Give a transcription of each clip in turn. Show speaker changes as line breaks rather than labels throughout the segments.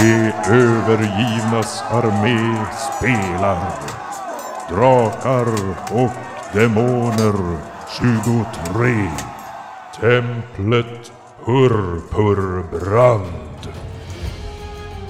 De övergivnas armé spelar. Drakar och demoner 23. Templet Purpurbrand.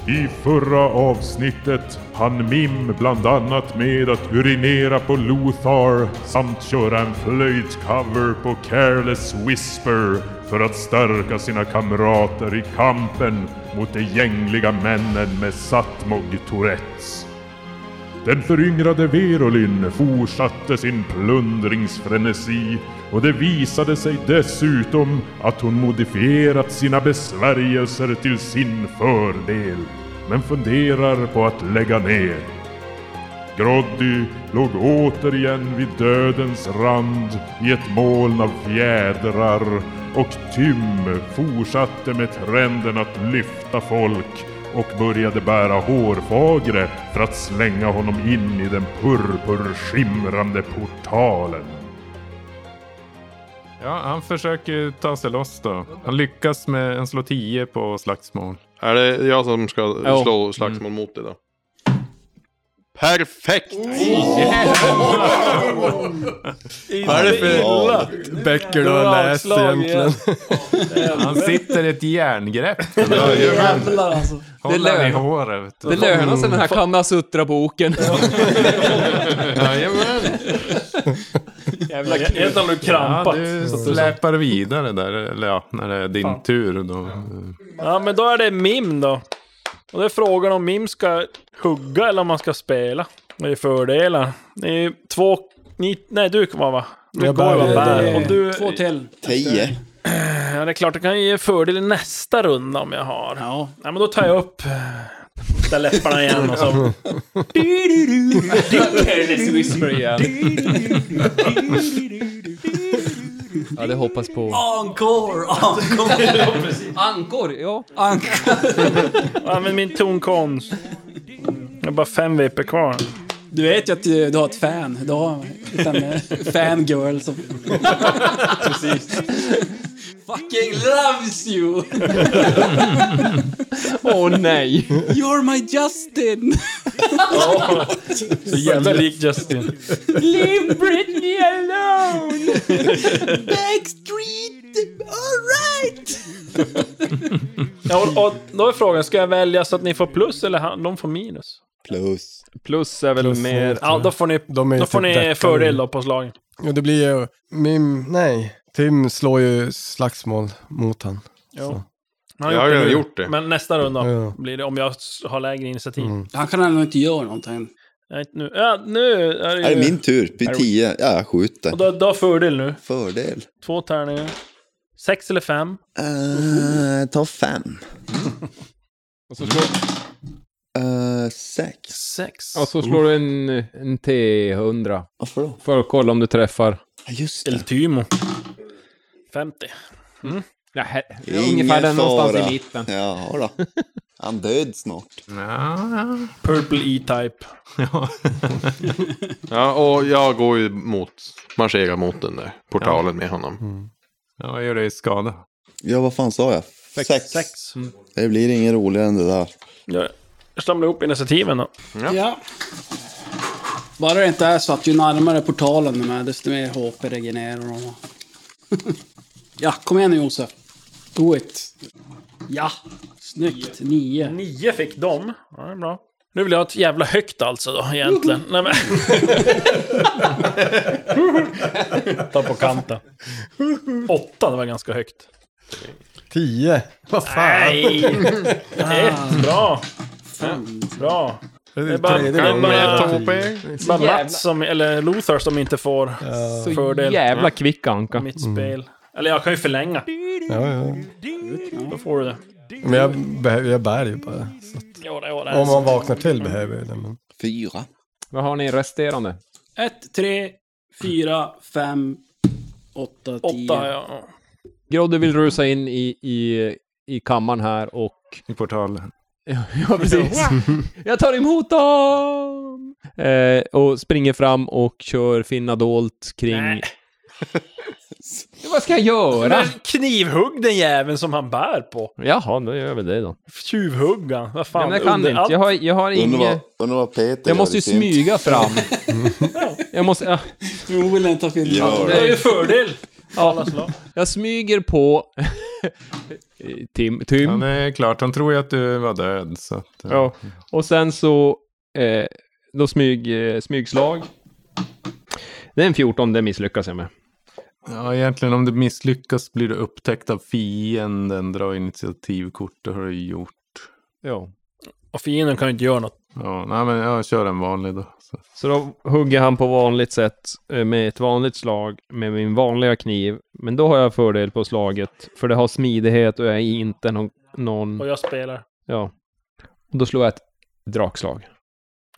I förra avsnittet hann Mim bland annat med att urinera på Lothar samt köra en flöjtcover på Careless Whisper för att stärka sina kamrater i kampen mot de gängliga männen med Satmog Tourettes. Den föryngrade Verolyn fortsatte sin plundringsfrenesi och det visade sig dessutom att hon modifierat sina besvärjelser till sin fördel, men funderar på att lägga ner. Groddy låg återigen vid dödens rand i ett moln av fjädrar och Tym fortsatte med trenden att lyfta folk och började bära hårfagre för att slänga honom in i den purpurskimrande portalen.
Ja, han försöker ta sig loss då. Han lyckas med en slå 10 på slagsmål.
Är det jag som ska slå slagsmål mot dig då? Perfekt!
Vad är det för böcker du har läst egentligen?
Han sitter i ett järngrepp.
Jävlar alltså. Det
Håller han i
lönar,
håret. vet du.
det lönar sig den här Kamasutra-boken.
Jajamän!
Jävla
Jag vet inte om du
Ja,
krampat.
du släpar vidare där, eller ja, när det är din tur då.
Ja, men då är det Mim då. Och det är frågan om Mim ska hugga eller om man ska spela. Det är fördelar. Det är två... Ni, nej, du kommer va? Du
Jag
går
bär.
va? Bär.
Det-
Och du...
Två till.
Tio.
Ja, det är klart, det kan ju ge fördel i nästa runda om jag har.
Ja.
Nej, men då tar jag upp... eh, Där läpparna igen och så...
Whisper igen. Ja, det hoppas på.
Encore! Encore!
Ankor, ja.
Jag använder min tonkonst. Jag har bara fem VP kvar.
Du vet ju att du, du har ett fan. Du har en eh, fangirl som...
Fucking loves you! Åh nej!
You're my Justin!
Så jävla lik Justin.
Leave Britney alone! Backstreet! Alright!
Ja, och, och då är frågan, ska jag välja så att ni får plus eller han, de får minus?
Plus.
Plus är väl mer...
Ja, då får ni,
De är
då
ju
får
typ
ni
däckade.
fördel då på slagen.
Ja, det blir ju... Mim... Nej. Tim slår ju slagsmål mot han.
Jo.
Så.
Han har
Jag har
det
redan
nu.
gjort det.
Men nästa runda
Ja.
blir det om jag s- har lägre initiativ.
Mm.
Han kan ändå inte göra någonting.
Jag är inte nu. Ja, nu är det,
Är
ju...
det min tur? På tio? Ja, jag
Och
skjuter.
då, då har fördel nu.
Fördel.
Två tärningar. Sex eller fem.
Eh, ta fem.
Och så slår,
Eh, sex.
Sex.
och så slår du en, en T100.
Varför då?
För att kolla om du träffar.
Ja, just
El
det.
Tymo. 50.
Ja, he-
Ingen
ungefär där någonstans
fara.
i mitten.
Jaha då. Han död snart.
Ja,
Purple E-Type.
Ja, och jag går ju mot, marscherar mot den där portalen med honom.
ja, vad gör det i skada?
Ja, vad fan sa jag? Sex.
Sex. Mm.
Det blir ingen roligare än det där.
Jag jag samlar ihop initiativen då.
Ja. Bara det inte är så att ju närmare portalen de är, desto mer HP regenererar de. ja, kom igen nu Josef. Do it. Ja, snyggt. Nio.
Nio fick de. Ja, det är bra. Nu vill jag ha ett jävla högt alltså då, egentligen. Nej, men. Ta på kanten. Åtta, det var ganska högt.
Tio! Vad fan!
Nej! Ett, bra! Bra!
det
Det är
är
bara, det
tredje
är
gången.
bara, bara
jävla-
Mats som, eller Lothar som inte får
Så
fördel
jävla kvick Anka.
mitt
Mm.
spel. Eller jag kan ju förlänga.
Ja, ja.
Då får du det.
Men jag, behöver, jag bär ju bara. Så att,
Ja, det, ja, det
om
är
man
så.
vaknar till behöver jag det. Men...
Fyra.
Vad har ni resterande?
Ett, tre, fyra, fem, åtta, tio.
Åtta, ja.
Grodde vill rusa in i, i, i kammaren här och...
I portalen.
Ja, precis. Jag tar emot dem! Eh, och springer fram och kör finna dolt kring
Nej.
Vad ska jag göra?
Men knivhugg den jäveln som han bär på.
Jaha, då gör jag väl det då.
Tjuvhuggan. Vad
Nej,
fan.
men jag kan
under
inte.
allt.
Jag har, jag har
Undrar vad,
inget...
undrar vad Peter
Jag
gör
måste
i
ju
sin-
smyga fram. Jag måste... ah, ja.
Tror vill inte ha film.
Gör
Det är
det.
ju alltså. fördel. Alla slag.
Jag smyger på... Tim. Tim.
Ja, det är klart. Han tror ju att du var död. Så att, eh, ja.
Ja, och sen så... Eh, då smyg, eh, smygslag. Det är en 14, det misslyckas jag med.
ja, egentligen om du misslyckas blir du upptäckt av fienden. Dra initiativkort, det har du gjort.
Ja.
Och fienden kan ju inte göra något.
Ja, nej, men jag kör en vanlig då. Så.
Så då hugger han på vanligt sätt eh, med ett vanligt slag med min vanliga kniv. Men då har jag fördel på slaget, för det har smidighet och jag är inte någon... någon
Och jag spelar.
ja. Och då slår jag ett drakslag.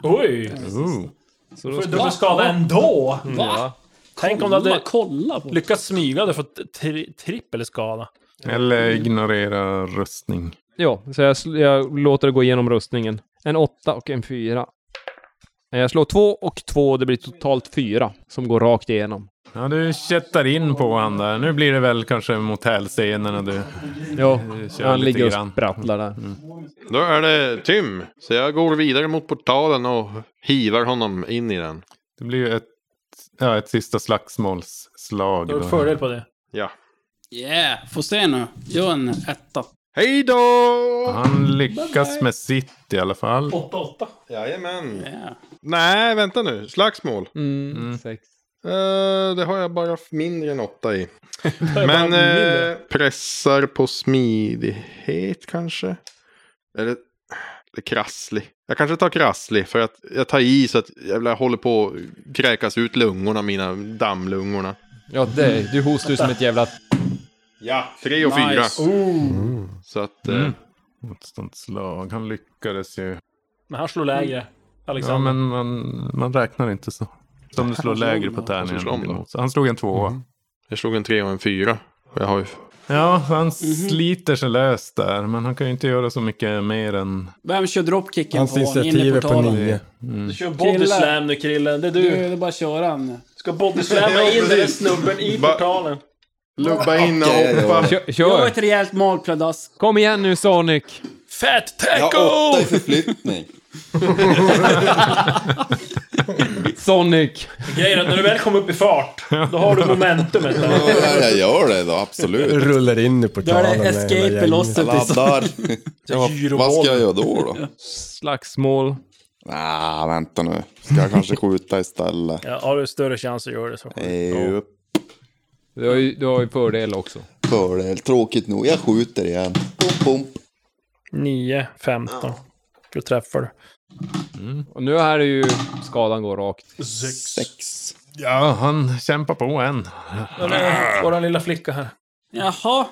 Oj!
Oh.
Så
Du
då
får dubbel skada ändå!
ja.
Mm. Tänk om du hade
kolla på.
lyckats smyga dig fått tri trippel skada.
Eller ignorera röstning.
Ja, så jag, sl- jag låter det gå igenom rustningen. En åtta och en fyra. Eh, Jag slår två och två, det blir totalt fyra som går rakt igenom.
Ja, du kättar in på han där. Nu blir det väl kanske motellscenerna du.
Ja,
kör
han
lite
ligger och
grann.
sprattlar där.
Då är det Tim. Så jag går vidare mot portalen och hivar honom in i den.
Det blir ju ett, ja, ett sista slagsmålsslag.
Du har
då.
fördel på det.
Ja.
Yeah, får se nu. Gör en etta.
Hej då!
Han lyckas med sitt i alla fall.
8-8.
Jajamän.
Yeah.
Nej, vänta nu. Slagsmål.
Mm,
Mm.
Sex.
Eh, det har jag bara mindre än åtta i.
bara
Men
mindre.
eh, pressar på smidighet kanske? Eller, eller krasslig. Jag kanske tar krasslig för att jag tar i så att jag, jag håller på att kräkas ut lungorna, mina dammlungorna.
Ja, det, du hostar ju som ett jävla...
Ja, tre och fyra.
Nice.
Oh.
Så att eh,
Mm. Motståndsslag. Han lyckades ju.
Men han slår lägre.
Ja,
Alexander.
men man, man räknar inte så. Så om du slår lägre på
Han slår om då. Mhm.
tärningen. Så Han slog en tvåa.
jag slog en tre och en fyra. Och jag har ju...
Ja,
Mhm.
han sliter sig lös där. Men han kan ju inte göra så mycket mer än...
Vem kör dropkicken
Hans
på? Inne i
initiativ är på
portalen.
nio.
Du kör body
Killar.
slam nu Krille. Det är
Du,
du.
det är bara att köra en.
Ska body slamma in den där snubben i
Va-
portalen.
Lubba in och
Okej, ja.
hoppa.
Kör!
Jag har
kör.
ett rejält magpladask.
Kom igen nu Sonic!
Fat
Jag
taco!
har åtta i förflyttning.
Sonic!
Grejen är att när du väl kommer upp i fart, då har du momentumet där.
Ja, jag gör det då, absolut.
Rullar in i
Då är
portalen.
det
med hela
escape liksom.
gänget.
Jag
velocity.
Laddar. Vad ska jag göra då då?
Slagsmål.
Ah, vänta nu. Ska jag kanske skjuta istället?
Ja, har du större chans att göra det så.
Eh, upp.
Du har ju, du har ju fördel också.
Fördel, tråkigt nog. Jag skjuter igen. Pump, pump.
9, 15. Du träffar du.
Och nu här är ju skadan går rakt.
Sex.
Ja, han kämpar på än.
Våran lilla flicka här.
Jaha.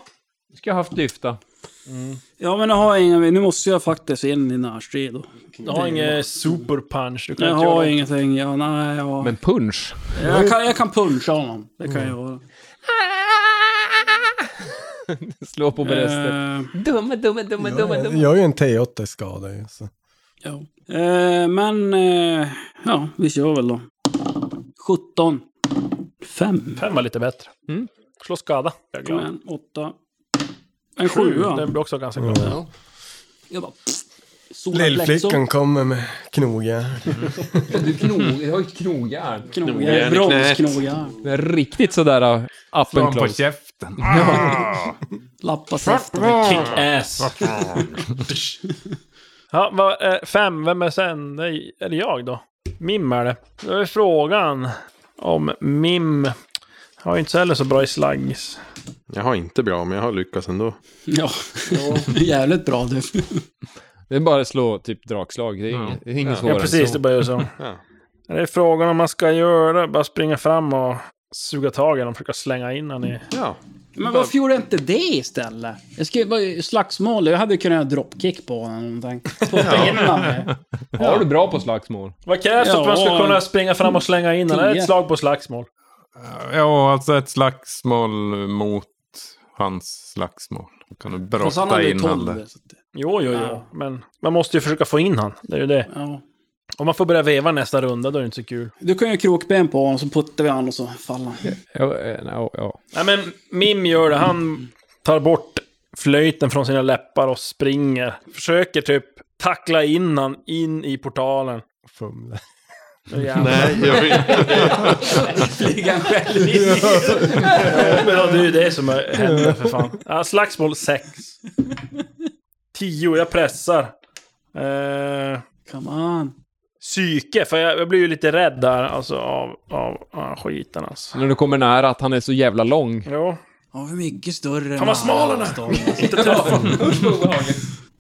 Ska jag haft lyfta.
Ja men nu har jag inga, nu måste jag faktiskt in i närstrid då.
Du har ingen superpunch. Du kan
Jag
inte göra
har
något.
ingenting, ja nej ja.
Men punch!
Jag kan, jag kan puncha honom, det kan jag göra.
Slå på bröstet.
Mm.
Eh,
Dumme, dumme, dumme, dumme,
Jag
dumme.
gör ju en T8 i skada ju. Så.
ja. Eh, men, eh, ja vi kör väl då. 17. 5.
Fem var lite bättre.
Mm.
Slå skada. Jag är
Kom
glad. Mm.
igen, 8. En
Sju.
sjua.
Den blir också ganska glad.
Jag bara... solar plexor.
Lillflickan kommer med knogjärn.
Du knog, jag har ju ett knogjärn.
Knogjärn. Bronsknogjärn.
Det är riktigt sådär uh, up
Slår
and
han på
close.
käften.
Lappas efter.
Kick ass. ja, vad, eh, fem, vem är sen? Det är- Är det jag då? Mim är det. Då är frågan om Mim har ju inte så heller så bra i slags.
Jag har inte bra, men jag har lyckats ändå.
Ja, jävligt bra du.
Det är bara att slå typ drakslag. Det är inget, det är inget svårare
Ja,
än
precis.
så.
Det börjar ju så.
Ja.
Det är frågan om man ska göra, bara springa fram och suga tag i honom, försöka slänga in honom i...
Ja.
Men varför gjorde jag inte det istället? Jag skulle vara ju slagsmål. Jag hade kunnat göra dropkick på honom eller någonting. Stoppa in honom. med.
Har du bra på slagsmål?
Vad krävs för att man ska
Ja.
kunna springa fram och slänga in honom? Är det
Tio.
Ett slag på slagsmål.
Ja, alltså ett slagsmål mot hans slagsmål. Då Kan du
Fast han hade
brotta
ju
in han där.
12. så att-
Jo, jo, jo.
Ja.
Men man måste ju försöka få in han. Det är ju det.
Ja.
Om man får börja veva nästa runda då är det inte så kul.
Du kan ju krokben på honom, så puttar vi honom och så faller han.
Ja, eh, ja, ja.
Nej men Mim gör det. Han tar bort flöjten från sina läppar och springer. Försöker typ tackla in han in i portalen.
Fumla.
Nu jävlar.
Nej, jag vill
Flyger han själv in.
Men ja, det är ju det som händer för fan. Ja, slagsmål 6. 10, jag pressar. Eh,
Come on.
psyke, för jag, jag blir ju lite rädd där alltså av, av ah, skiten alltså.
När du kommer nära att han är så jävla lång.
Jo.
Ja, hur mycket större
Fan vad smal han
är.
är! Inte träffar.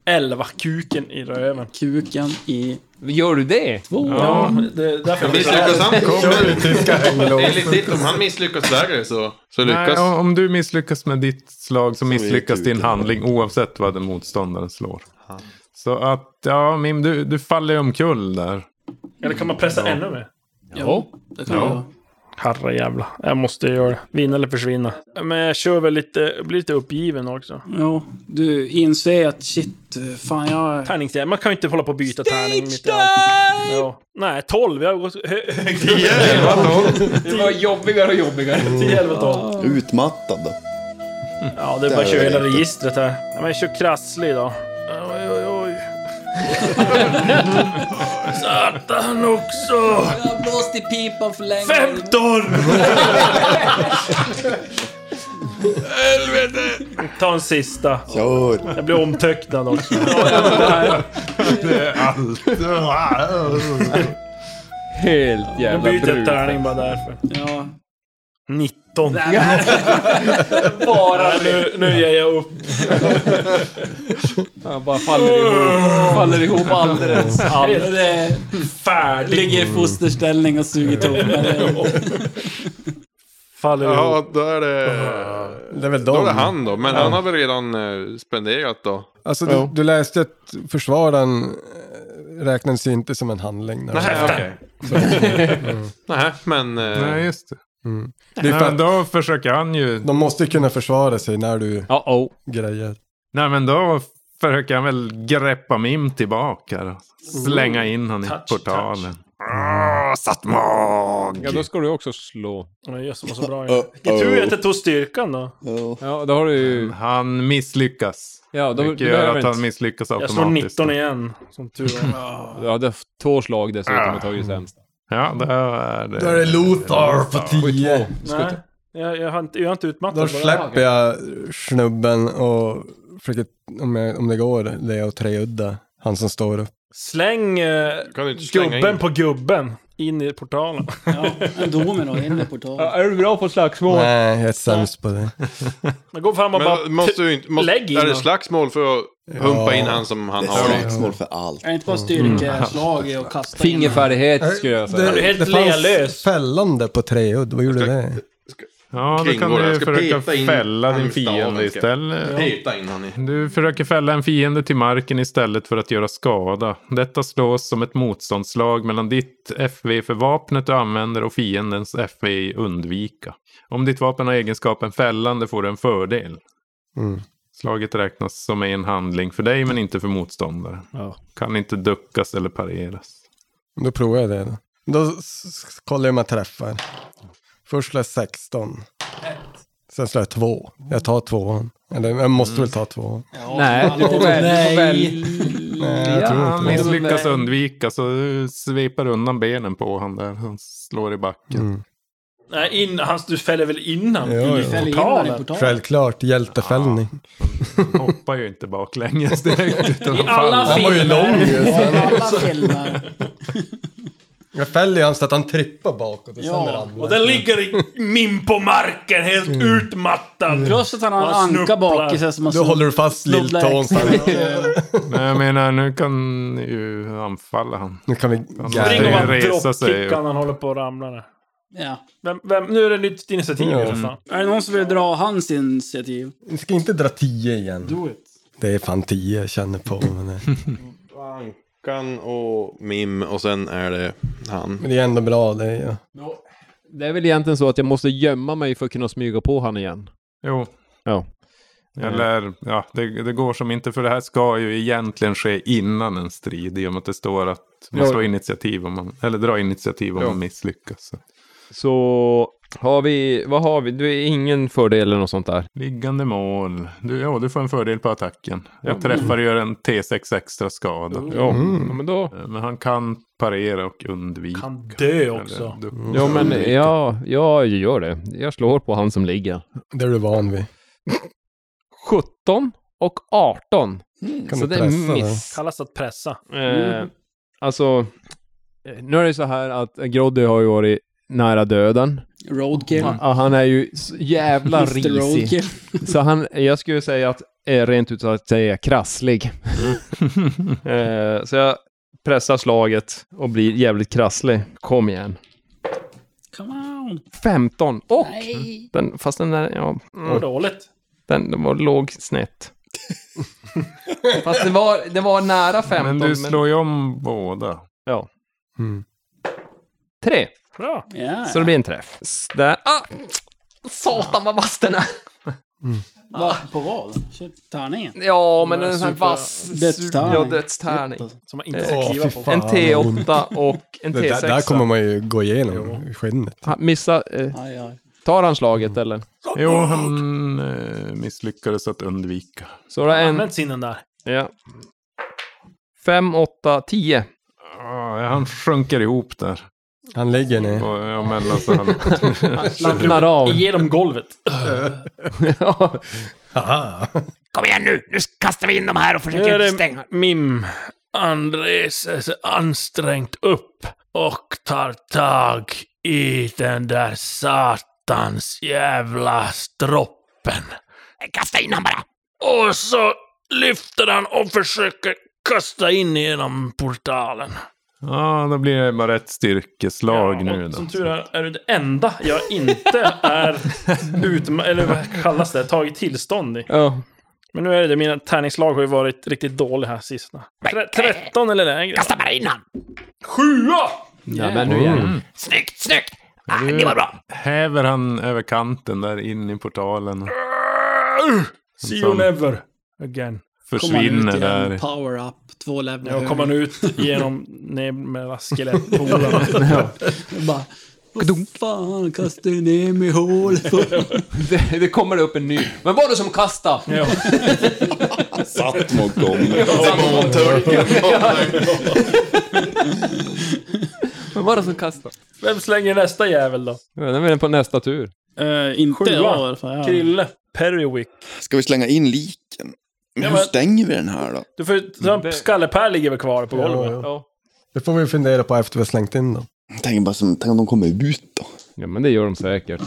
11, kuken i röven.
Kuken i...
Gör du det?
Ja, det, därför jag blir så
misslyckas han.
Kommer till Skylow.
Enligt ditt, om han misslyckas värre så, så
Nej,
lyckas...
om- om du misslyckas med ditt slag så misslyckas
ut
din
det.
handling oavsett vad den motståndaren slår. Så att, ja Mim, du, du faller omkull där.
Eller kan man pressa ännu mer?
Ja. Det kan ja.
Herre jävla. Jag måste göra det. Vinna eller försvinna. Men jag kör väl lite, jag blir lite uppgiven också.
ja. Du inser att shit, fan jag...
Tärningsjävel. Man kan ju inte hålla på och byta tärning mitt i allt. Ja. Nej, 12. Jag har gått hö- högt.
Det var jobbigare och jobbigare.
10, 11, 12.
Utmattad.
Ja, det är bara att köra hela registret här. Ja, men jag kör krasslig idag. Oj, oj, oj. Satan också!
Jag har blåst i pipan för länge.
15! Helvete! Ta en sista.
Kör!
Jag blir omtöcknad också.
Helt
Jag
jävla
byter
brut.
jag tärning bara därför.
Ja.
19.
Bara
Nej, nu, nu ger jag upp.
Han bara faller ihop. Faller ihop alldeles.
Allt
Det är-
färdigt.
ligger i fosterställning och suger tummar.
Faller ihop.
Ja, då är det...
Det är väl
Då är
dem.
det han då. Men han har väl redan eh, spenderat då.
Alltså, du, du läste att försvararen eh, räknades ju inte som en handling. när-
Nej, okej. Nej, men... eh,
Nej, just det.
Det är för
Nej, men
att
då försöker han ju...
de måste ju kunna försvara sig när du
Uh-oh.
grejer.
Nej, men då försöker han väl greppa Mim tillbaka. Då. Slänga
Mm.
in han i
Touch,
portalen. Åh, satt mag!
Ja, då ska du också slå.
Oj, Jösses vad så bra
Uh-oh.
jag Vilken tur att jag tog styrkan då.
Ja.
Ja, då har du ju...
Han misslyckas.
Ja, då,
Vilket
du
gör
behöver
att han
inte...
misslyckas
Jag slår
automatiskt.
19 igen. Som tur var.
Ja, det är f- två slag dessutom och
Ah.
tagit sämst.
Mm.
Ja, då är det...
Då är det Lothar på 10.
Nej, jag, jag, har inte, jag har inte utmattat
Då
bara.
släpper jag snubben och försöker, om, jag, om det går, det är och treudda. Han som står upp.
Släng eh,
Kan du inte slänga
gubben
in?
på gubben. In i portalen.
Ja, en domino in i portalen.
är du bra på slagsmål?
Nej, jag är sämst på det.
Jag går fram och bara...
Men måste du inte... Måste,
lägg in
är det
då.
slagsmål för att pumpa
Ja.
in han som han
Det
har?
är
i?
slagsmål för allt.
Är det inte bara styrkeslag och kasta
Mm.
Eh,
Fingerfärdighet Äh, skulle jag säga.
blir helt lealös.
fällande på treudd, vad gjorde det?
Ja, då kan
Kringgår.
du
Jag
ju
ska peta
försöka
in
fälla din
handstaven, ska
fiende
jag.
istället.
Peta in han i.
Du försöker fälla en fiende till marken istället för att göra skada. Detta slås som ett motståndslag mellan ditt FV för vapnet du använder och fiendens FV i undvika. Om ditt vapen har egenskapen fällande får du en fördel.
Mm.
Slaget räknas som en handling för dig men inte för motståndaren. Kan inte duckas eller pareras.
Då provar jag det. Då, då s- s- kollar jag om jag träffar. Först slår jag 16. Sen slår jag 2. Jag tar tvåan. Eller jag måste väl ta tvåan.
Nej, du får väl... Du får väl.
Nej, jag tror
Han
inte det.
misslyckas undvika så du sveper undan benen på honom där. Han slår i backen.
Nej, in, han, du fäller väl innan?
Ja, ja.
Fäller in
Portalen.
den i portalen.
Självklart, hjältefällning.
Han hoppar ju inte baklänges direkt. Utan han
alla
faller.
Han var ju lång ju.
Ja, i
sen-
alla filmer.
Jag fäller ju honom så att han trippar bakåt och sen
Ja,
Och
ramlar
den ligger i min på marken, helt
Mm.
utmattad.
Plus att han har
Och
en
han
anka
snubblar.
bak i sig som man
Då håller du fast
snubblar
lilltån.
extra mycket.
Nej, jag menar, nu kan ju anfalla han.
Nu kan vi...
Spring
Spring och
och
Ja.
bara
bara resa sig.
droppkickar när han håller på att ramla där.
Ja.
Vem, vem, nu är det nytt initiativ
Ja.
för
Mm.
fan.
Är det någon som vill dra hans initiativ?
Vi ska inte dra 10 igen.
Do it.
Det är fan 10 jag känner på. Men det,
Ankan och Mim och sen är det han.
men det är ändå bra. Det är, ju-
Det är väl egentligen så att jag måste gömma mig för att kunna smyga på han igen.
Jo.
Ja.
Eller ja, det, det går som inte, för det här ska ju egentligen ske innan en strid i och med att det står att man
Ja.
slår initiativ om man, eller drar initiativ om
Ja.
man misslyckas. Så.
Så har vi, vad har vi? Du är ingen fördel eller något sånt där.
Liggande mål. Du, ja, du får en fördel på attacken. Jag träffar och gör en T6 extra skada.
Ja,
Mm.
ja men då.
Eh, Men han kan parera och undvika.
Kan dö
Eller
också.
du-
Ja
Mm.
men ja, jag gör det. Jag slår på han som ligger.
Det är du van vid.
17 och 18.
Kan
så
du
det
pressa
är
det?
miss.
Kallas att pressa. Mm.
Eh, alltså, eh, nu är det så här att Groddy har ju varit nära döden.
Roadkill.
Ja, han är ju så jävla
Mr.
risig.
Roadkill.
Så han, jag skulle säga att, eh, rent ut sagt säga krasslig. eh, så jag pressar slaget och blir jävligt krasslig. Kom igen.
Come on.
15 och
Nej.
den, fast den där, ja, Mm.
Vad dåligt.
den, den var låg snett. fast det var, det var nära 15.
Men du slår ju om båda.
ja.
Mm.
Tre.
Bra.
Ja.
Så det blir en träff. S- Där. Ah! Satan vad vass den är!
Va? På vad? Shit, Tärningen?
Ja, men
Den
den
här
är en sån här
super-
vass...
Dödstärning.
super- Ja, dödstärning.
Som man inte
Åh,
ska kliva
fy
på.
fan.
En
vad ont.
T8 och en
Det
T6.
där, där kommer man ju gå igenom i skinnet.
Han missar... Eh,
Aj, aj.
tar han slaget eller?
Jo, han eh, misslyckades att undvika.
Så
Mm.
det är en...
Använd sinnen där.
Ja. 5, 8, 10.
Ah, han sjunker ihop där.
Han ligger ner.
Och, ja, mellan så han...
Slappnar av.
Genom golvet.
Ja.
Aha.
Kom igen nu! Nu kastar vi in de här och
Nu är det Mim. Han reser sig ansträngt upp och tar tag i den där satans jävla stroppen. Kasta in han bara! Och så lyfter han och försöker kasta in genom portalen.
Ja, då blir det bara ett styrkeslag nu då.
Som tur är, är du det enda jag inte är utma- eller vad kallas det, tagit tillstånd i.
Ja.
Men nu är det det, mina tärningslag har ju varit riktigt dåliga här sista. Tre- 13 eller lägre. Kasta bara in han! Sjua!
ja, men nu igen. Ah, Mm.
Du Häver han över kanten där in i portalen.
See
Som-
you never again.
Kommer han ut
Försvinner
igen,
där.
power up, två level
Jag kommer nu ut genom ner mellan skelettpolarna.
Bara, vad fan kastade du ner mig i hålet?
Det, det kommer upp en ny. Men var det som kastade?
ja.
Satt mot gången.
Men var det som kastade?
Vem slänger nästa jävel då?
Ja, den är väl på nästa tur.
Eh, inte
Sjua.
jag i alla fall. Ja.
Krille. Perrywick.
Ska vi slänga in liken? Men
Ja,
hur
men-
stänger vi den här då?
Du får, så
Det-
Skallepär ligger väl kvar på golvet?
Ja, ja. Det får vi fundera på efter vi har slängt in dem.
Jag tänker bara som, tänk om de kommer ut då?
Ja, men det gör de säkert.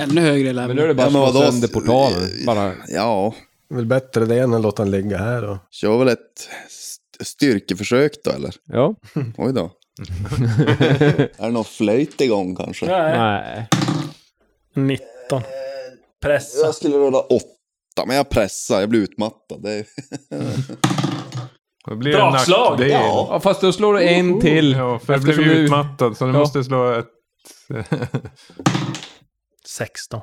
Ännu högre level.
Men nu är det bara
Ja,
att
men
slå
vadå?
sönder portalen. Bara...
Ja,
Det är väl bättre det än att låta den ligga här då.
kör väl ett st- styrkeförsök då eller?
Ja.
Oj då. är det någon flöjt igång kanske?
Nej.
Nej.
19. Pressa.
Jag skulle rulla åtta, men jag pressar, jag blir utmattad. Det är...
Då blir det en
Dragslag!
nackdel.
Ja.
Ja, fast då slår du en till.
Ja, för jag blev
Eftersom
ju
du-
utmattad så du
Ja.
måste slå ett...
16.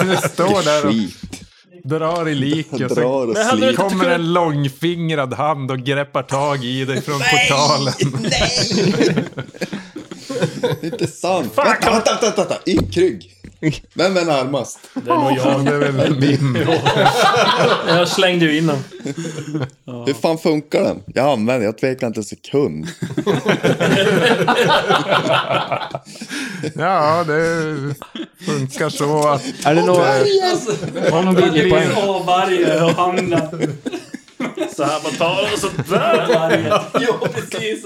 Du står där och
Skit.
drar i liket. Så
Drar och
Men hade du-
sliter.
kommer en långfingrad hand och greppar tag i dig från portalen.
Det är inte sant. Vänta, vänta, vänta, vänta. I krygg. Vem är närmast?
Det är nog jag.
Det är väl min.
Jag slängde ju in den.
Hur fan funkar den? Jag använder jag tvekar inte en sekund.
Ja, det funkar så att
Är det några...
om du blir...
av varje och hamna. Så här på tal och så där.
Ja, precis.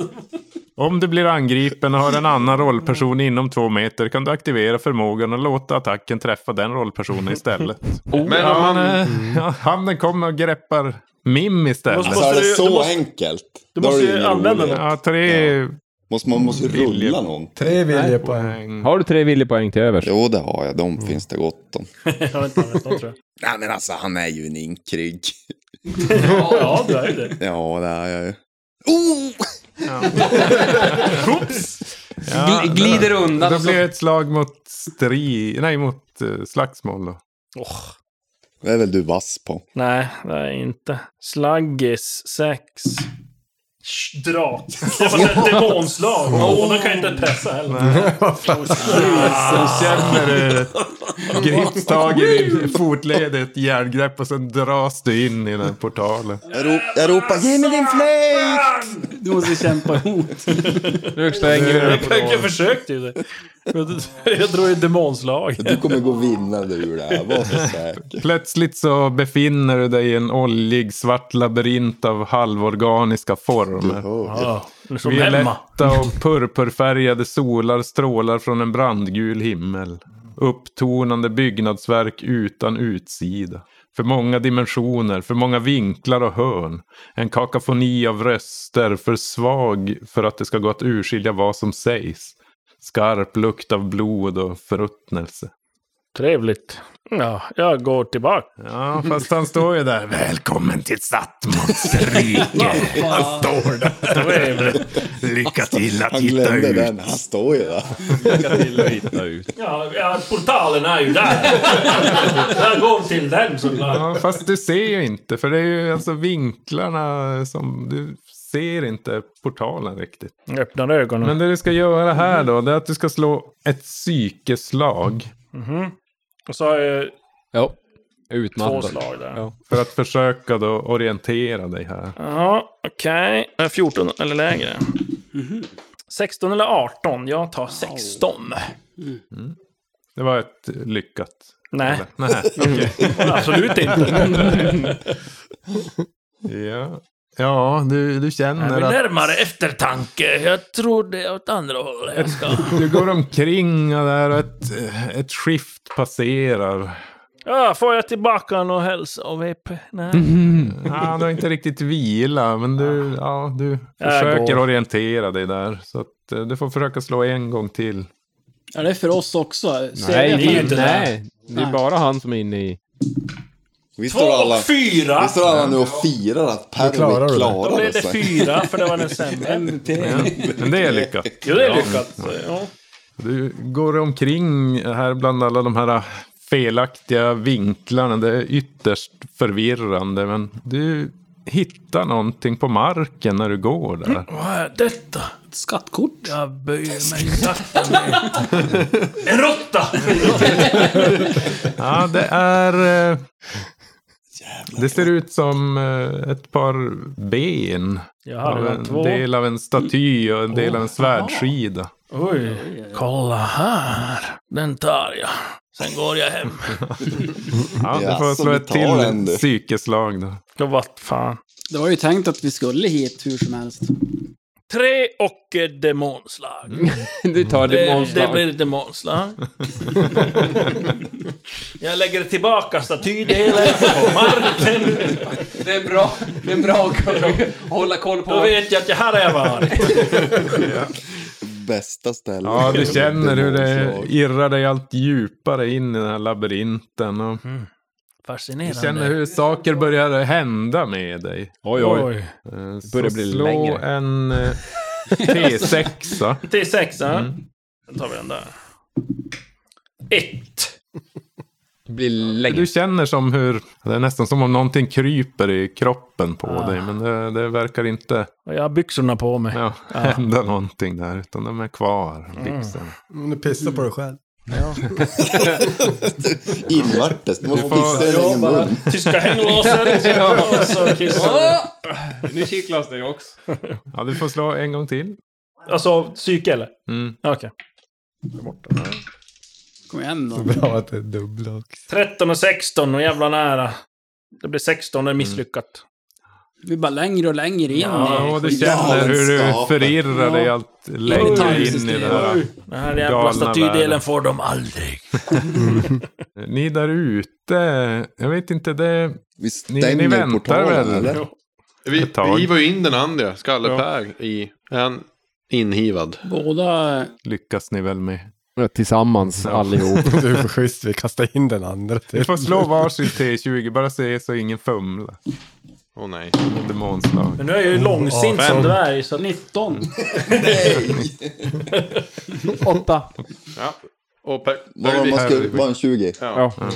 Om du blir angripen och har en annan rollperson inom två meter kan du aktivera förmågan och låta attacken träffa den rollpersonen istället.
Men om
Han,
man...
eh, ja, handen kommer och greppar Mim istället.
Måste-
Alltså är
du-
det
du
så
måste-
enkelt?
du
Då är
måste
det
ju
ingen
använda
rolighet.
Ja, tre
Måste, man måste ju
Vilja.
rulla någon.
Tre viljepoäng.
poäng.
Har du tre viljepoäng till övers?
Jo, det har jag. De finns det gott om.
Jag har inte använt dem tror
Nej, men alltså han är ju en inkrygg.
jag. Ja, du är ju det.
Ja, det är jag ju. Oh!
Ja,
Glider undan
då
och så-
blir det ett slag mot strid. Nej, mot hästslagsmål då?
Det är väl du vass på.
Nej, det är jag inte. Slaggis 6.
Drak. Det var ett demonslag. Och de kan inte pressa heller.
Sen känner du grips tag i din fotled, ett järngrepp och sen dras du in i den här portalen.
Jag, ro jag ropar ge mig din flöjt!
Du måste kämpa emot.
Nu slänger vi den på
Jag
lådan.
försökte ju det. Men Jag drog ett demonslag.
Du kommer gå vinnande ur det här, var så säker.
Plötsligt så befinner du dig i en oljig svart labyrint av halvorganiska former.
Ja, som Emma.
Violetta och purpurfärgade solar strålar från en brandgul himmel. Upptonande byggnadsverk utan utsida. För många dimensioner, för många vinklar och hörn. En kakafoni av röster, för svag för att det ska gå att urskilja vad som sägs. Skarp lukt av blod och förruttnelse.
Trevligt. Ja, jag går tillbaka.
Ja, fast han står ju där. Välkommen till Sattmans rike. Han står där. Lycka till att
Han
hitta
glömde
ut.
den, han står ju där.
Ja, ja, portalen är ju där. Jag går till den. Så där.
Ja, fast du ser ju inte. För det är ju alltså vinklarna som... Du ser inte portalen riktigt.
Jag öppnar ögonen.
Men det du ska göra här då, det är att du ska slå ett psykeslag.
Och så har jag
Ja.
två
Utmattad.
slag där.
Ja.
För att försöka då orientera dig här.
Ja, okej. Okay. 14 eller lägre.
Mhm.
16 eller 18? Jag tar 16.
Det var ett lyckat.
Nej,
Eller? Nej, okej.
absolut inte.
Ja, ja du, du
Jag
känner
blir
att...
närmare eftertanke. Jag tror det är åt andra hållet. Jag ska...
Du går omkring och där och ett, ett skift passerar.
ja, får jag tillbaka någon hälsa av VP? Nej.
Ja, du har inte riktigt vila, men du, ja, du
Jag
försöker
går.
orientera dig där. Så att, eh, du får försöka slå en gång till.
Ja, det är för oss också. Ser
Nej,
jag
det är
fram-
inte nej. Det är
Nej.
bara han som är inne i...
Vi
Två
står alla,
och fyra!
vi står alla nu och firar att Perry
klarar du
Då
det.
klarade
blev det
sig.
fyra, för det var den sämre.
En till.
Men det är lyckat.
Jo, det är lyckat. Ja.
Du går omkring här bland alla de här felaktiga vinklarna. Det är ytterst förvirrande, men du hittar någonting på marken när du går där.
Vad är detta?
Ett skattkort.
Jag böjer mig sakta ner.
En råtta!
Ja, det är... eh, Det ser ut som eh, ett par ben.
Jag
Av
hade en
en
två.
del av en staty och en del av en svärdskida.
Oj. Kolla här. Den tar jag. Sen går jag hem.
Ja, du
Ja,
får
så
slå
vi
ett
tar den,
till
du.
psykeslag då.
Då vart fan.
Det var ju tänkt att vi skulle hit hur som helst.
Tre och ett demonslag.
Du tar
Det, det
Mm, demonslag.
blir ett demonslag. jag lägger tillbaka statydelen på marken.
Det är bra. Det är bra att hålla koll på.
Då vet jag att jag här har jag varit.
Bästa stället.
Ja, du känner hur det irrar dig allt djupare in i den här labyrinten. Och du
Fascinerande.
känner hur saker börjar hända med dig.
Oj, oj.
Eh, Så
börjar bli
slå
längre.
en eh, T6.
Till sexa.
Mm.
Då tar vi den där. Ett.
Det blir längre.
Du känner som hur, det är nästan som om någonting kryper i kroppen på dig. Men det, det verkar inte
Och jag har byxorna på mig.
ja, hända någonting där. Utan de är kvar. Liksom.
Men du pissar på dig själv.
Invärtes, du måste pissa i din egen mun.
Tyska hänglåset. Och så kissar vi.
Nu kittlas det också.
Ja, du får slå en gång till.
Alltså psyke eller?
Mm.
Okej.
Kom igen då.
Bra att det är dubbla också.
13 och 16 och jävla nära. Det blir 16, det är misslyckat.
Vi är bara längre och längre in.
Ja, och du
Ja,
känner
den
hur du
skapen.
förirrar dig allt längre in i det här.
Den här jävla
Galna
statydelen
världen.
får de aldrig.
Ni där ute, jag vet inte, det...
Vi
Ni,
stänger
ni väntar
portalen,
väl?
eller?
Vi,
Ett tag.
vi var ju in den andra, Skalle-Per, i... Är han inhivad?
Båda...
Lyckas ni väl med?
Eh, Tillsammans allihop.
Du är för schysst, vi kastar in den andra
Ni
till.
får slå varsin T20, bara se så ingen fumlar.
Åh nej.
Demonslag.
Men nu är jag ju långsint som dvärg, så 19.
Åtta.
Ja. Och per,
Vad var man
per-
skulle- var en 20?
Ja.
Ja.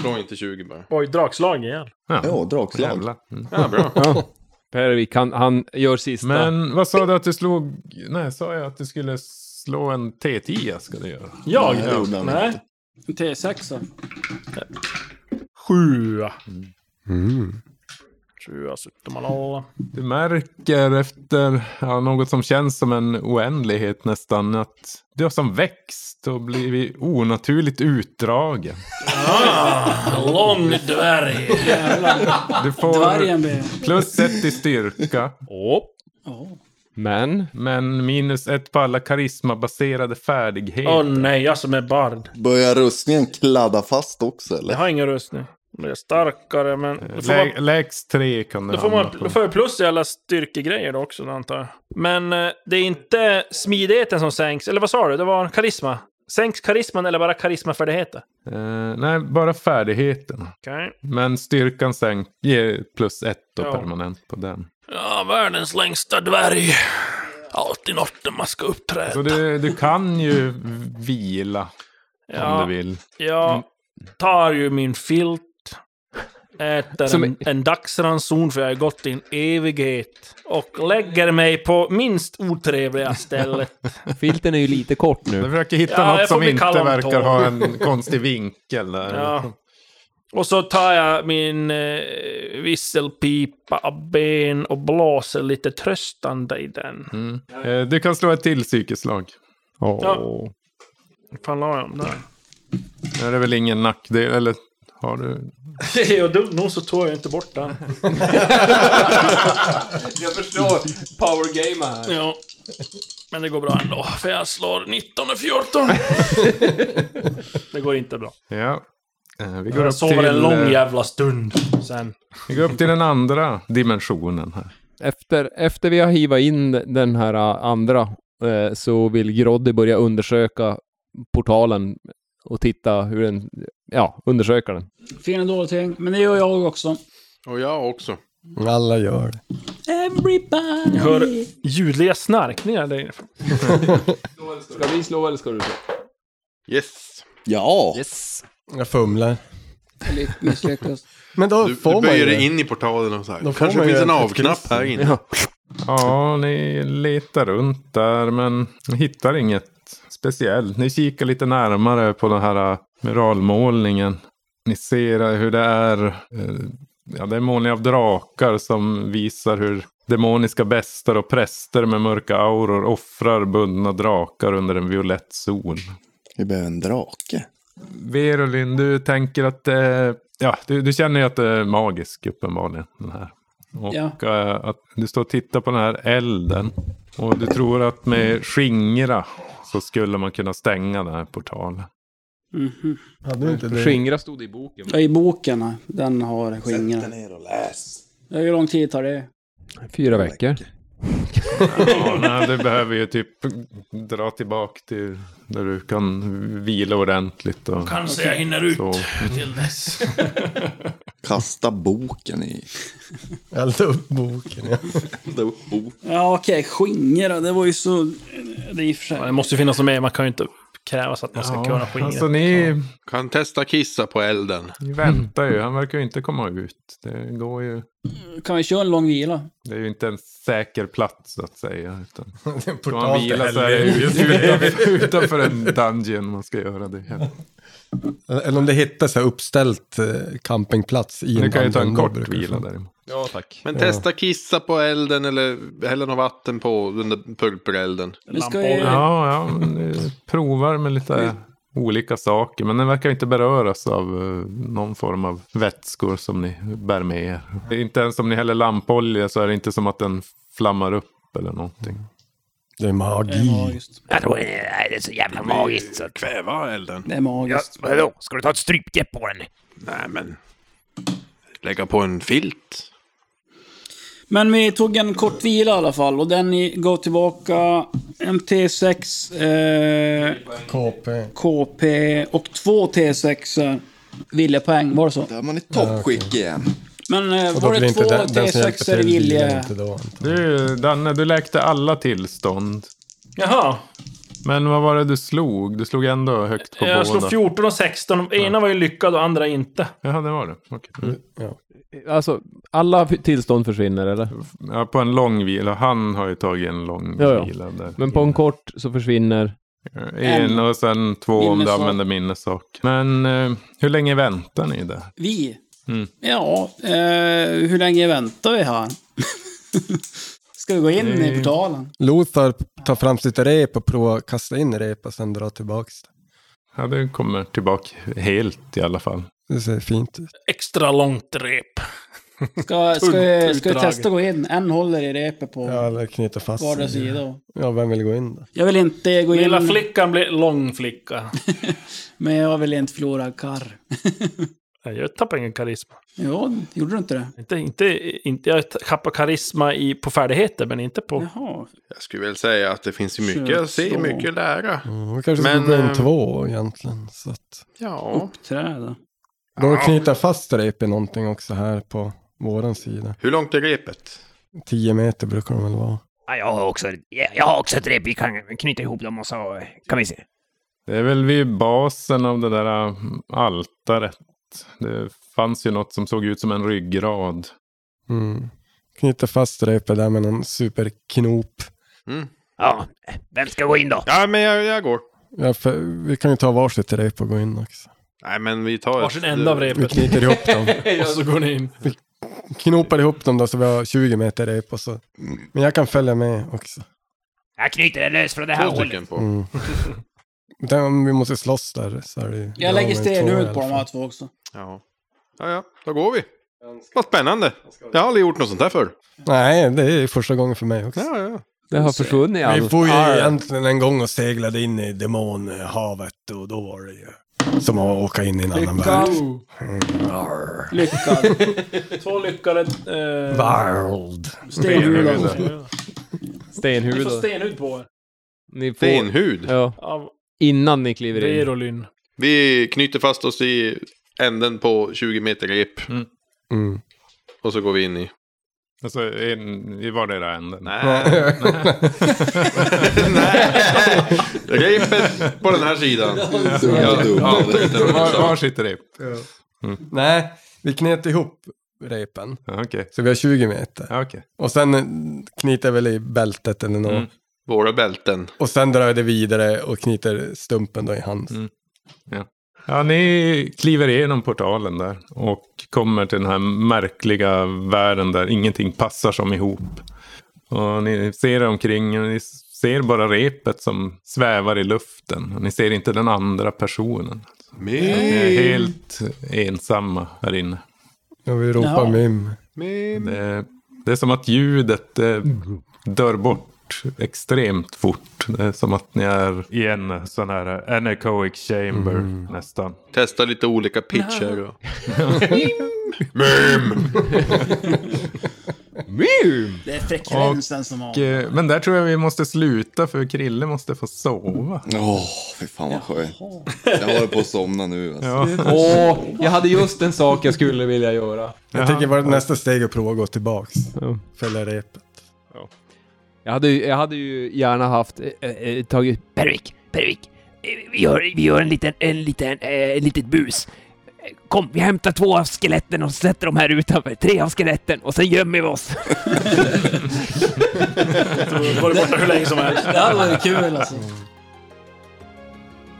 Slå inte 20 bara.
Oj, dragslag igen.
Mm.
Ja, bra.
Pervik, han, han gör sista.
Men vad sa du att du slog? Nej, sa jag att du skulle slå en T10 ska du göra?
Jag? Nej, det gjorde han Nej. inte.
En T6.
Sjua.
Mm.
Sjua suttumalalla.
Du märker efter ja, något som känns som en oändlighet nästan att du har som växt och blivit onaturligt utdragen.
Ah, lång dvärg.
Du får plus ett i styrka.
Men?
Men minus ett på alla karismabaserade färdigheter.
Åh nej, jag som är bard.
Börjar rustningen kladda fast också eller?
Jag har ingen rustning. Jag är starkare, men... Då får
Lä-
man,
Lägst tre kan du
då får, man,
hamna på.
då får jag plus i alla styrkegrejer då också, antar jag. Men eh, det är inte smidigheten som sänks. Eller vad sa du? Det var karisma. Sänks karisman eller bara karismafärdigheten?
Eh, nej, bara färdigheten.
Okej.
Men styrkan sänk, ge plus ett då
Ja.
permanent på den.
Ja, världens längsta dvärg. Alltid något när man ska uppträda.
Så du, du kan ju vila
Ja.
om du vill.
Jag tar ju min filt, äter
Som
en, en dagsranson för jag har gått i en evighet och lägger mig på minst otrevliga stället.
Filten är ju lite kort nu.
Du försöker hitta
Ja, jag
något
får
som
bli kall
inte
om
verkar
tån.
ha en konstig vinkel. Där.
Ja. Och så tar jag min eh, visselpipa av ben och blåser lite tröstande i den.
Mm. Eh, Du kan slå ett till psykeslag.
Ja. Vad fan la jag dem där?
Nu är det väl ingen nackdel, eller har du?
Och dumt nog så tog jag inte bort den.
Jag förstår powergame här.
Ja. Men det går bra ändå, för jag slår 19 och 14. det går inte bra.
Ja. Eh, Vi går,
Jag
upp
sover
till,
en lång
eh,
jävla stund sen.
vi går upp till den andra dimensionen här.
Efter, efter vi har hivat in den här ä, andra eh, så vill Groddy börja undersöka portalen och titta hur den, ja, undersöka den.
Fina dåliga ting. Men det gör jag också.
Och jag också.
Alla gör det.
Everybody.
Jag hör ljudliga snarkningar där inne.
Ska vi slå eller ska du slå?
Yes.
Ja.
Yes.
Jag fumlar.
Misslyckas.
Men då
Du,
får
du
man ju
böjer
det.
dig in i portalen och så här.
Då får
Kanske
man
finns
ju
en
ett-
avknapp här inne. Ja.
Ja, ni letar runt där men hittar inget speciellt. Ni kikar lite närmare på den här äh, muralmålningen. Ni ser äh, hur det är, eh, ja det är målningar av drakar som visar hur demoniska bestar och präster med mörka auror offrar bundna drakar under en violett sol.
Vi behöver en drake.
Verolin, du tänker att... Eh, ja, du, du känner ju att det är magisk uppenbarligen, den här. Och eh, att du står och tittar på den här elden. Och du tror att med skingra så skulle man kunna stänga den här portalen.
Mhm.
Hade du inte det?
Skingra stod i boken.
Ja, I boken, nej. den har skingrat. Sätt dig
ner och läs.
Hur lång tid tar det?
Fyra veckor.
Ja, nej, du behöver ju typ dra tillbaka till där du kan vila ordentligt. Och,
Kanske jag hinner ut
Så.
till dess.
Kasta boken i...
Elda upp boken. Ja.
Ja, okej. Skingra, det var ju så... Det är i och för
Ja,
sig...
Det måste ju finnas något mer, man kan ju inte kräva så att man ska kunna skingra.
alltså ni
Kan testa kissa på elden.
ni väntar ju. Han verkar ju inte komma ut. Det går ju.
Kan vi köra en lång vila?
Det är ju inte en säker plats att säga. Utan...
Det är en
Ska man
portal till
vila så är det
helvetet.
utanför, utanför en dungeon man ska göra det.
Eller om det hittas så här uppställt eh, campingplats i
Du
en
kan ju ta en
dungeon, liksom. då
kort
brukar det
vila
funka.
däremot.
Ja, tack.
Men testa kissa på elden eller hälla något vatten på den där pulperelden.
Vi ska
Lampa
ju...
Ja, ja, men du provar med lite olika saker. Men den verkar inte beröras av eh, någon form av vätskor som ni bär med er. Det är Inte ens om ni häller lampolja så är det inte som att den flammar upp eller någonting.
Det är
Det är
magi.
magiskt.
Det är så jävla magiskt. Så.
Kväva elden.
Det är magiskt.
Vadå? Ska du ta ett strypgrepp på den?
Nej men. Lägga på en filt.
Men vi tog en kort vila i alla fall och den i- gav tillbaka MT6, eh,
KP.
KP och två T6 eh, viljepoäng, var det så?
Där är man i toppskick igen.
Men eh,
Och då
var
blir
det två
inte den, den som hjälper
T6
till vilar
vilje...
inte då. antar jag.
Du, Danne, du läkte alla tillstånd.
Jaha.
Men vad var det du slog? Du slog ändå högt på båda.
Jag slog 14 och 16. Ena var ju lyckad och andra inte.
Ja, det var det. Okej.
Alltså, alla f- tillstånd försvinner eller?
Ja, på en lång vila. Han har ju tagit en lång
Ja, ja.
vila där.
Men på en kort så försvinner...
En och sen två om du
Minnesak.
använder minnesak. Men eh, hur länge väntar ni där?
Vi?
Mm.
Ja, eh, hur länge väntar vi här? Ska vi gå in i portalen?
Lothar tar fram sitt rep och provar att kasta in rep och sen dra tillbaks det.
Ja, det kommer tillbaka helt i alla fall.
Det ser fint ut.
Extra långt rep.
Ska, ska, vi, ska vi
utdrag.
testa att gå in? En håller i repet på...
Ja, eller knyta fast
Vardera
sig.
sida.
Ja, vem vill gå in då?
Jag vill inte gå in...
Lilla flickan blir lång flicka.
Men jag vill inte förlora karr.
Nej, Jag tappar ingen karisma.
Ja, gjorde du inte det?
Inte, inte, inte, jag tappar karisma i, på färdigheter, men inte på...
Jag skulle väl säga att det finns ju mycket
Kör
att se,
så.
mycket att lära.
Mm, hon kanske skulle
Men,
gå in
eh,
två egentligen. Så att...
Ja.
Uppträda.
De knyter fast rep i någonting också här på våran sida.
Hur långt är repet?
Tio meter brukar de väl vara.
Ja, jag har också, jag jag har också ett rep. Vi kan knyta ihop dem och så kan vi se.
Det är väl vid basen av det där äh, altaret. Det fanns ju något som såg ut som en ryggrad.
Mm. Knyter fast repet där med någon superknop.
Ja, vem ska gå in då?
Ja, men jag, jag går.
Ja, för vi kan ju ta varsitt rep och gå in också.
Nej, men vi tar...
Varsin ända av repet.
Vi knyter ihop dem.
och så går ni in.
Vi knopar ihop dem då så vi har 20 meter rep och så. Men jag kan följa med också.
Jag knyter den lös från det här
eh, Två stycken
hålet.
på.
Mm. Utan om vi måste slåss där så är det ju
Jag
bra
lägger
med två i alla
stenhuvud på
fall.
de här två också.
Ja. ja, ja, då går vi. Vad spännande. Jag har aldrig gjort något sånt här förr.
Nej, det är första gången för mig också.
Ja, ja.
Det har försvunnit Ah,
Vi
allt.
får ju
Arr.
egentligen en gång och seglade in i demonhavet och då var det ju som att åka in i en annan värld. Mm, arr.
Lyckad. Två lyckade... Eh,
Varld.
Stenhuvud. Ni
Stenhuvud.
får
då.
stenhud på er.
Ni får-
Stenhud.
Ja.
Av
Innan ni kliver in.
Verolyn.
Vi knyter fast oss i änden på 20 meter rep.
Mm.
Och så går vi in i...
Alltså en, i vardera änden.
Nej. Nej. Repet på den här sidan. Ja, ja, det-
Var, var sitter det?
Nej, vi knöt ihop repen.
Okej.
Så vi har 20 meter.
Ja, okej.
Och sen eh, knyter väl i bältet eller något.
Mm.
Våra bälten.
Och sen drar jag det vidare och knyter stumpen då i hand.
Ja, ni kliver igenom portalen där och kommer till den här märkliga världen där ingenting passar som ihop. Och ni ser er omkring och ni ser bara repet som svävar i luften. Och ni ser inte den andra personen.
Mim.
Ni är helt ensamma här inne.
Ja, vi ropar
Ja.
mim.
Det, det är som att ljudet eh, dör bort extremt fort. Det är som att ni är i en sån här anechoic chamber nästan.
Testa lite olika pitcher. Och...
Mim! Mim!
Det är frekvensen som har...
Och, eh, men där tror jag vi måste sluta för Krille måste få sova.
Åh, fy fan vad skönt. Jag håller på att somna nu. Alltså.
Ja.
Åh, jag hade just en sak jag skulle vilja göra.
Jag tänker vara nästa steg att prova att gå tillbaks. Fälla repet.
Jag hade, ju- jag hade ju gärna haft, eh, eh, tagit...
Pervik, Pervik. eh, Vi gör, vi gör en liten, en liten, eh, ett litet bus. Eh, Kom, vi hämtar två av skeletten och sätter dem här utanför. Tre av skeletten och sen gömmer vi oss.
Så Var det borta hur länge som helst.
Det hade varit kul alltså.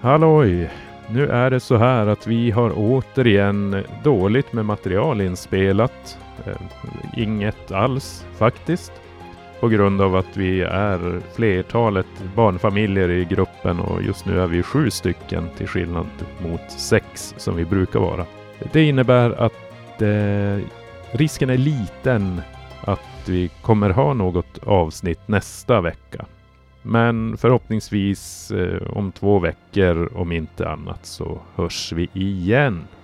Halloj! Nu är det så här att vi har återigen dåligt med material inspelat. Eh, Inget alls faktiskt. På grund av att vi är flertalet barnfamiljer i gruppen och just nu är vi sju stycken till skillnad mot sex som vi brukar vara. Det innebär att eh, risken är liten att vi kommer ha något avsnitt nästa vecka. Men förhoppningsvis eh, om två veckor, om inte annat, så hörs vi igen.